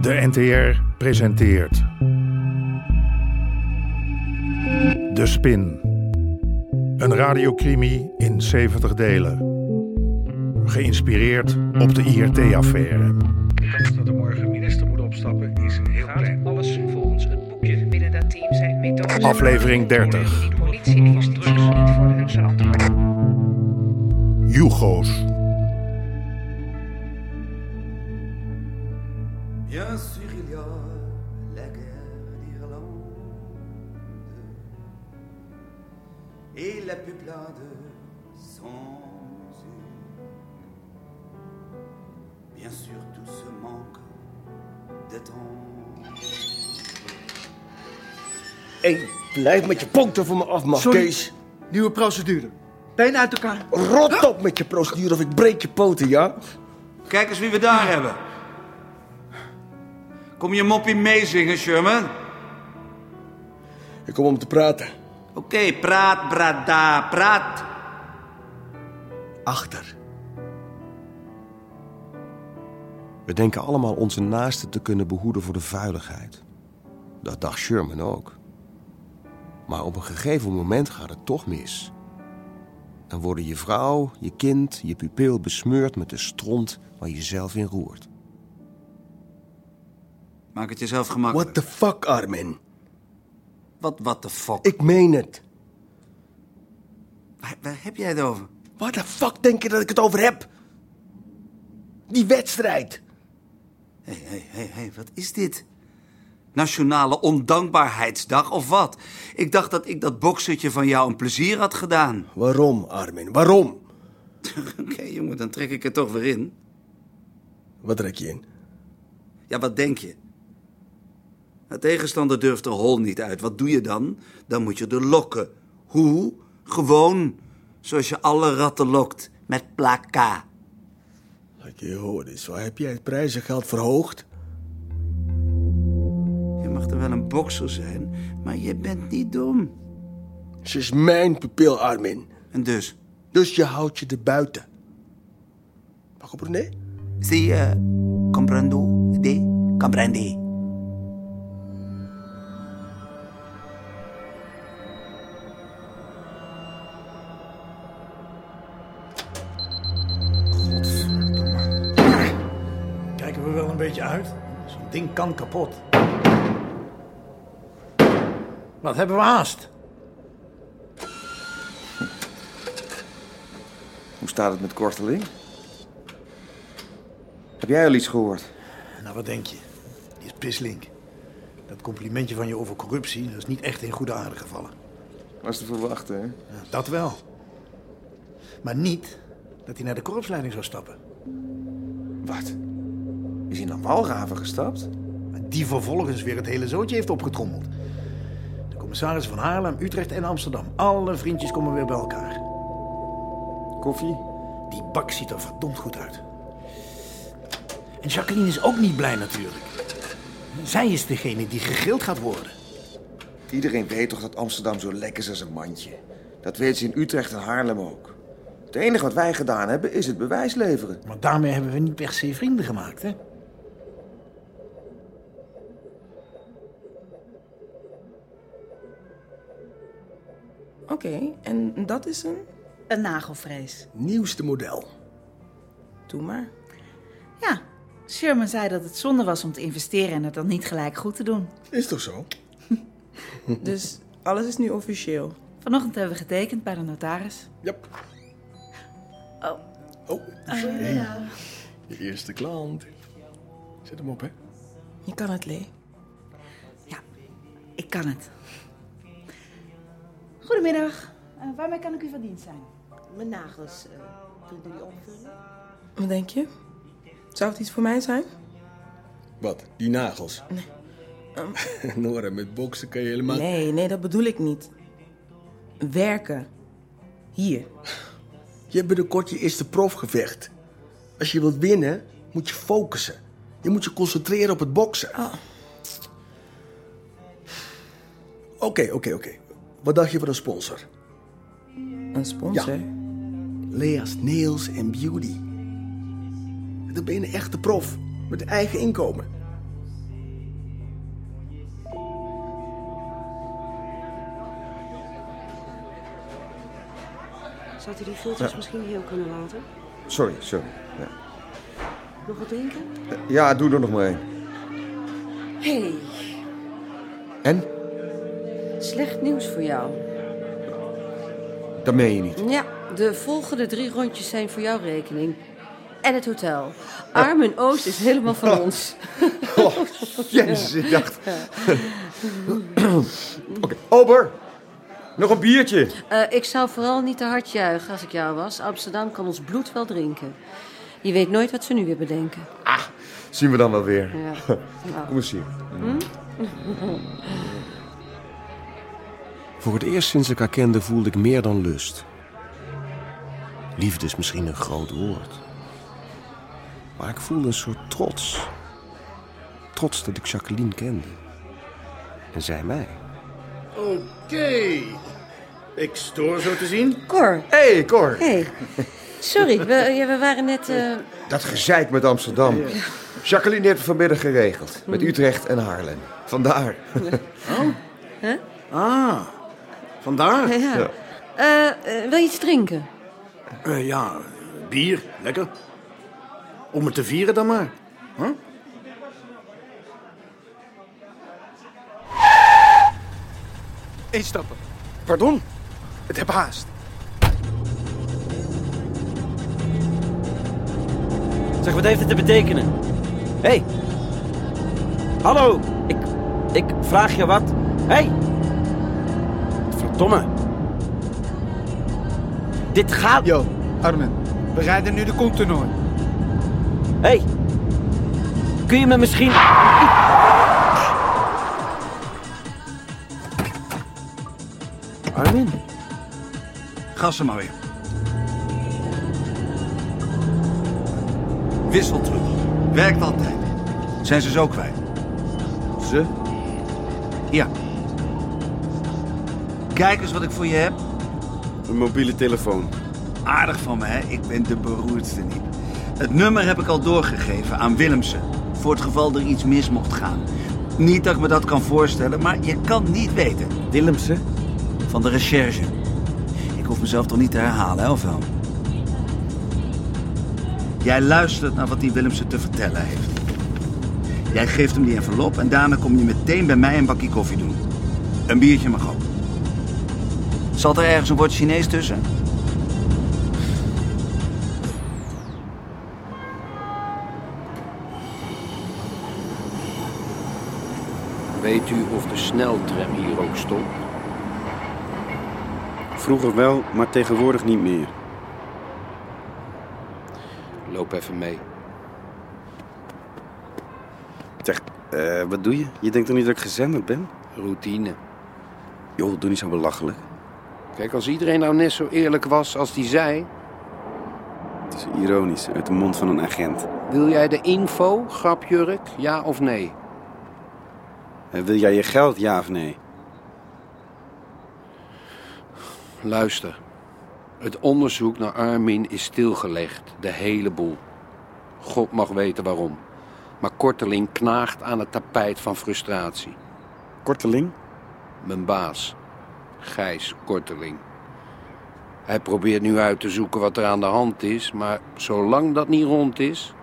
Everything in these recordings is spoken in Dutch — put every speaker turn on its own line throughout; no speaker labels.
De NTR presenteert. De Spin. Een radiocrimi in 70 delen. Geïnspireerd op de IRT-affaire.
De kans dat er morgen minister moet opstappen is heel klein.
Alles volgens het boekje.
Binnen dat team zijn methodes.
Aflevering 30.
De politie heeft drugs niet voor hun verantwoord.
Jugo's.
Bien sûr, il y a la guerre d'Irlande et la peuplade sans une. Bien sûr, tout ce manque de temps.
Hey, blijf met je poten van me af, man.
Sorry.
Kees.
Nieuwe procedure. Benen uit elkaar.
Rot op met je procedure of ik breek je poten, ja?
Kijk eens wie we daar hebben. Kom je moppie meezingen, Sherman?
Ik kom om te praten.
Oké, praat, brada, praat.
Achter. We denken allemaal onze naasten te kunnen behoeden voor de vuiligheid. Dat dacht Sherman ook. Maar op een gegeven moment gaat het toch mis. Dan worden je vrouw, je kind, je pupil besmeurd met de stront waar je zelf in roert.
Maak het jezelf gemakkelijk.
the fuck, Armin?
Wat, wat de fuck?
Ik meen het.
Waar, waar heb jij het over?
Waar de fuck denk je dat ik het over heb? Die wedstrijd.
Hé, hé, hé, hé, wat is dit? Nationale Ondankbaarheidsdag of wat? Ik dacht dat ik dat boksertje van jou een plezier had gedaan.
Waarom, Armin? Waarom?
Oké, jongen, dan trek ik het toch weer in.
Wat trek je in?
Ja, wat denk je? De tegenstander durft er hol niet uit. Wat doe je dan? Dan moet je er lokken. Hoe? Gewoon. Zoals je alle ratten lokt. Met plaka.
Laat je horen, zo heb jij het prijzengeld verhoogd?
Je mag er wel een bokser zijn, maar je bent niet dom.
Ze is mijn pupil, Armin.
En dus,
Dus je houdt je er buiten. Mag op René?
zie je, eh, comprendo de comprendi.
Kijken we wel een beetje uit? Zo'n ding kan kapot. Wat hebben we haast?
Hoe staat het met Korteling? Heb jij al iets gehoord?
Nou, wat denk je? Die is pisslink. Dat complimentje van je over corruptie, dat is niet echt in goede aarde gevallen.
Was te verwachten, hè?
Ja, dat wel. Maar niet dat hij naar de korpsleiding zou stappen.
Wat? Is hij naar Walraven gestapt?
En die vervolgens weer het hele zootje heeft opgetrommeld. De commissaris van Haarlem, Utrecht en Amsterdam. Alle vriendjes komen weer bij elkaar.
Koffie?
Die bak ziet er verdomd goed uit. En Jacqueline is ook niet blij natuurlijk. Zij is degene die gegrild gaat worden.
Iedereen weet toch dat Amsterdam zo lek is als een mandje. Dat weten ze in Utrecht en Haarlem ook. Het enige wat wij gedaan hebben is het bewijs leveren.
Maar daarmee hebben we niet per se vrienden gemaakt, hè?
Oké, en dat is een?
Een nagelvrees.
Nieuwste model.
Doe maar.
Ja, Sherman zei dat het zonde was om te investeren en het dan niet gelijk goed te doen.
Is toch zo?
Dus alles is nu officieel.
Vanochtend hebben we getekend bij de notaris.
Ja.
Oh.
Oh, je eerste klant. Zet hem op, hè?
Je kan het, Lee.
Ja, ik kan het. Goedemiddag. Eh, waarmee kan ik u van dienst zijn?
Mijn nagels. eh willen jullie opvullen?
Wat denk je? Zou het iets voor mij zijn?
Wat? Die nagels? Nee. Nora, met boksen kan je helemaal...
Nee, nee, dat bedoel ik niet. Werken. Hier.
Je binnenkort je eerste profgevecht. Als je wilt winnen, moet je focussen. Je moet je concentreren op het boksen. Oké, oké, oké. Wat dacht je van een sponsor?
Een sponsor.
Lea's Nails and Beauty. Dan ben je een echte prof. Met eigen inkomen.
Zou u die filters misschien heel kunnen laten?
Sorry, sorry. Ja,
Nog wat drinken?
Ja, doe er nog maar één.
Hé, hey,
En?
slecht nieuws voor jou.
Dat meen je niet.
Ja, de volgende drie rondjes zijn voor jouw rekening. En het hotel. Armin Oost is helemaal van ons.
Jezus, ik dacht... Oké, ober! Nog een biertje!
Eh, ik zou vooral niet te hard juichen als ik jou was. Amsterdam kan ons bloed wel drinken. Je weet nooit wat ze nu weer bedenken.
Zien we dan wel weer.
Ja.
Kom eens hier.
Hm?
Voor het eerst sinds ik haar kende voelde ik meer dan lust. Liefde is misschien een groot woord. Maar ik voelde een soort trots. Trots dat ik Jacqueline kende. En zij mij.
Oké. Ik stoor zo te zien.
Cor.
Hé, hey, Cor.
Hé, sorry, we, ja, we waren net... eh,
Dat gezeik met Amsterdam. Jacqueline heeft het vanmiddag geregeld. Met
Mhm.
Utrecht en Haarlem. Vandaar.
hè?
Ah, vandaar?
Ja. Eh, eh, wil je iets drinken?
Eh, ja, bier, lekker. Om het te vieren dan maar. Huh? Instappen. Pardon? Het heb haast.
Zeg, wat heeft dit te betekenen? Hé! Hey. Hallo! Ik, ik vraag je wat. Hé! Hey. Verdomme! Dit gaat... Yo, Armin. We rijden nu de continu. Hé! Hey. Kun je me misschien...
Armin?
Gassen maar weer.
Wisseltruc. Werkt altijd. Zijn ze zo kwijt? Ze? Ja. Kijk eens wat ik voor je heb. Een mobiele telefoon. Aardig van me, hè? Ik ben de beroerdste niet. Het nummer heb ik al doorgegeven aan Willemsen. Voor het geval er iets mis mocht gaan. Niet dat ik me dat kan voorstellen, maar je kan niet weten. Willemsen? Van de recherche. Ik hoef mezelf toch niet te herhalen, hè, of wel? Jij luistert naar wat die Willemsen te vertellen heeft. Jij geeft hem die envelop en daarna kom je meteen bij mij een bakje koffie doen. Een biertje mag ook. Zat er ergens een woord Chinees tussen?
Weet u of de sneltram hier ook stond? Vroeger wel, maar tegenwoordig niet meer. Loop even mee. Zeg, eh, wat doe je? Je denkt toch niet dat ik gezenderd ben? Routine. Joh, doe niet zo belachelijk. Kijk, als iedereen nou net zo eerlijk was als die zei...
Het is ironisch, uit de mond van een agent.
Wil jij de info, grapjurk, ja of nee?
Eh, Wil jij je geld, ja of nee?
Luister. Het onderzoek naar Armin is stilgelegd, de hele boel. God mag weten waarom. Maar Korteling knaagt aan het tapijt van frustratie. Korteling? Mijn baas, Gijs Korteling. Hij probeert nu uit te zoeken wat er aan de hand is, maar zolang dat niet rond is,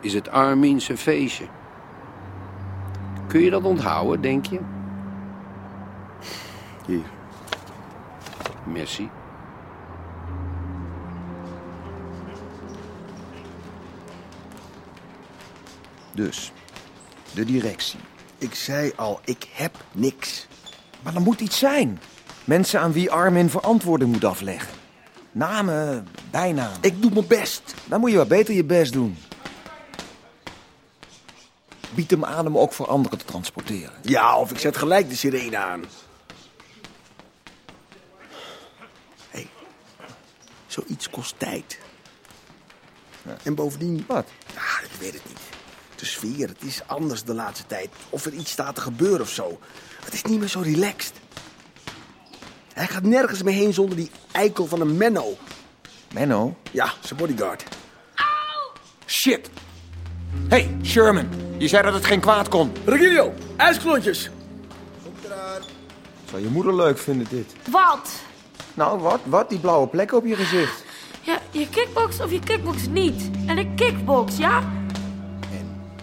is het Armin zijn feestje. Kun je dat onthouden, denk je?
Hier.
Merci.
Dus, de directie. Ik zei al, ik heb niks. Maar er moet iets zijn. Mensen aan wie Armin verantwoording moet afleggen. Namen, bijnaam. Ik doe mijn best. Dan moet je wat beter je best doen. Bied hem aan hem ook voor anderen te transporteren.
Ja, of ik zet gelijk de sirene aan. hey, zoiets kost tijd. En bovendien... Wat? Ja, ik weet het niet. De sfeer, het is anders de laatste tijd. Of er iets staat te gebeuren of zo. Het is niet meer zo relaxed. Hij gaat nergens meer heen zonder die eikel van een Menno.
Menno?
Ja, zijn bodyguard.
Shit! hey, Sherman. Je zei dat het geen kwaad kon.
Regilio, ijsklontjes.
Zou je moeder leuk vinden dit?
Wat?
Nou, wat? Wat? Die blauwe plek op je gezicht.
Ja, je kickbox of je kickbox niet. En ik kickbox, ja?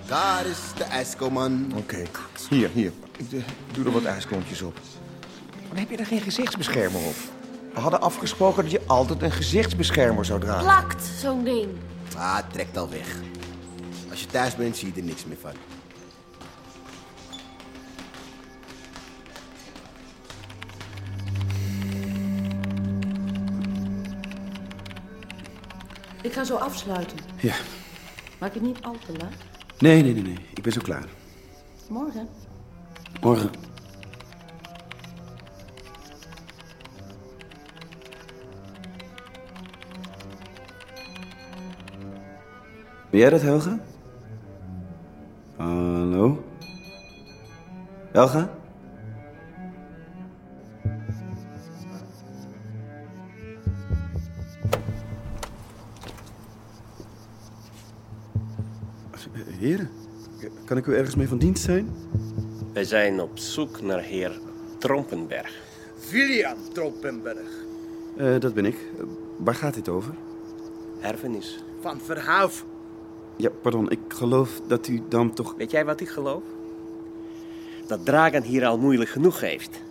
Daar is de ijskoman.
Oké. Hier, hier. Ik eh, doe er wat ijskontjes op. Maar heb je daar geen gezichtsbeschermer op? We hadden afgesproken dat je altijd een gezichtsbeschermer zou dragen.
Plakt, zo'n ding.
Ah, het trekt al weg. Als je thuis bent, zie je er niks meer van.
Ik ga zo afsluiten.
Ja.
Maak het niet al te laat.
Nee, nee, nee, nee. Ik ben zo klaar.
Morgen.
Morgen.
Ben jij dat, Helga? Hallo? Helga?
Heren, kan ik u ergens mee van dienst zijn?
Wij zijn op zoek naar heer Trompenberg.
William Trompenberg.
Eh, dat ben ik. Eh, waar gaat dit over?
Erfenis.
Van Verhaaf.
Ja, pardon. Ik geloof dat u dan toch...
Weet jij wat ik geloof? Dat Dragan hier al moeilijk genoeg heeft.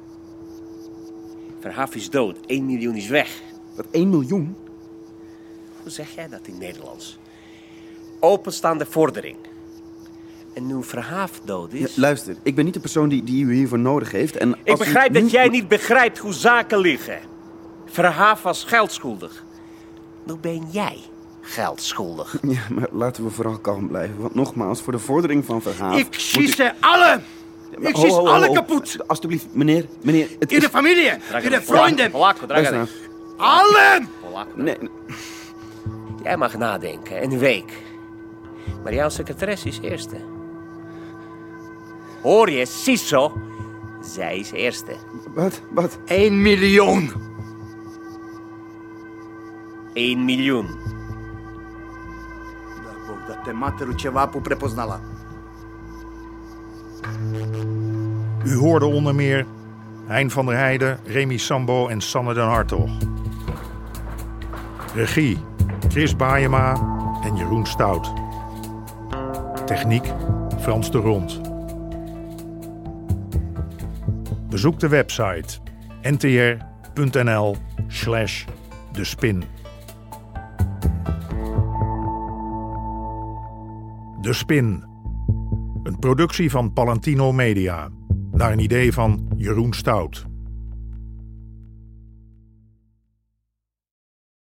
Verhaaf is dood. 1 miljoen is weg.
Wat, 1 miljoen?
Hoe zeg jij dat in Nederlands? Openstaande vordering. En nu Verhaaf dood is...
Ja, luister, ik ben niet de persoon die, die u hiervoor nodig heeft. En
Ik
als u
begrijp dat
niet-
jij niet begrijpt hoe zaken liggen. Verhaaf was geldschuldig. Nu ben jij geldschuldig.
Ja, maar laten we vooral kalm blijven. Want nogmaals, voor de vordering van Verhaaf...
Ik zie ze alle.
Maar
Ik
ho,
zie ze
ho, ho,
alle
ho.
kapot.
Alsjeblieft, meneer, meneer... Het
In de familie, in de vrienden.
Luister nou.
Allen.
Nee.
Jij mag nadenken, een week. Maar jouw secretaris is eerste. Hoor je, Siso? Zij is eerste.
Wat? Wat?
1 miljoen.
1 miljoen.
Bog da te materu ćevapu prepoznala.
U hoorde onder meer Hein van der Heijden, Remy Sambo en Sanne den Hartog. Regie Chris Baayema en Jeroen Stout. Techniek Frans de Rond. Bezoek de website ntr.nl slash de spin. De Spin. Een productie van Palantino Media. Naar een idee van Jeroen Stout.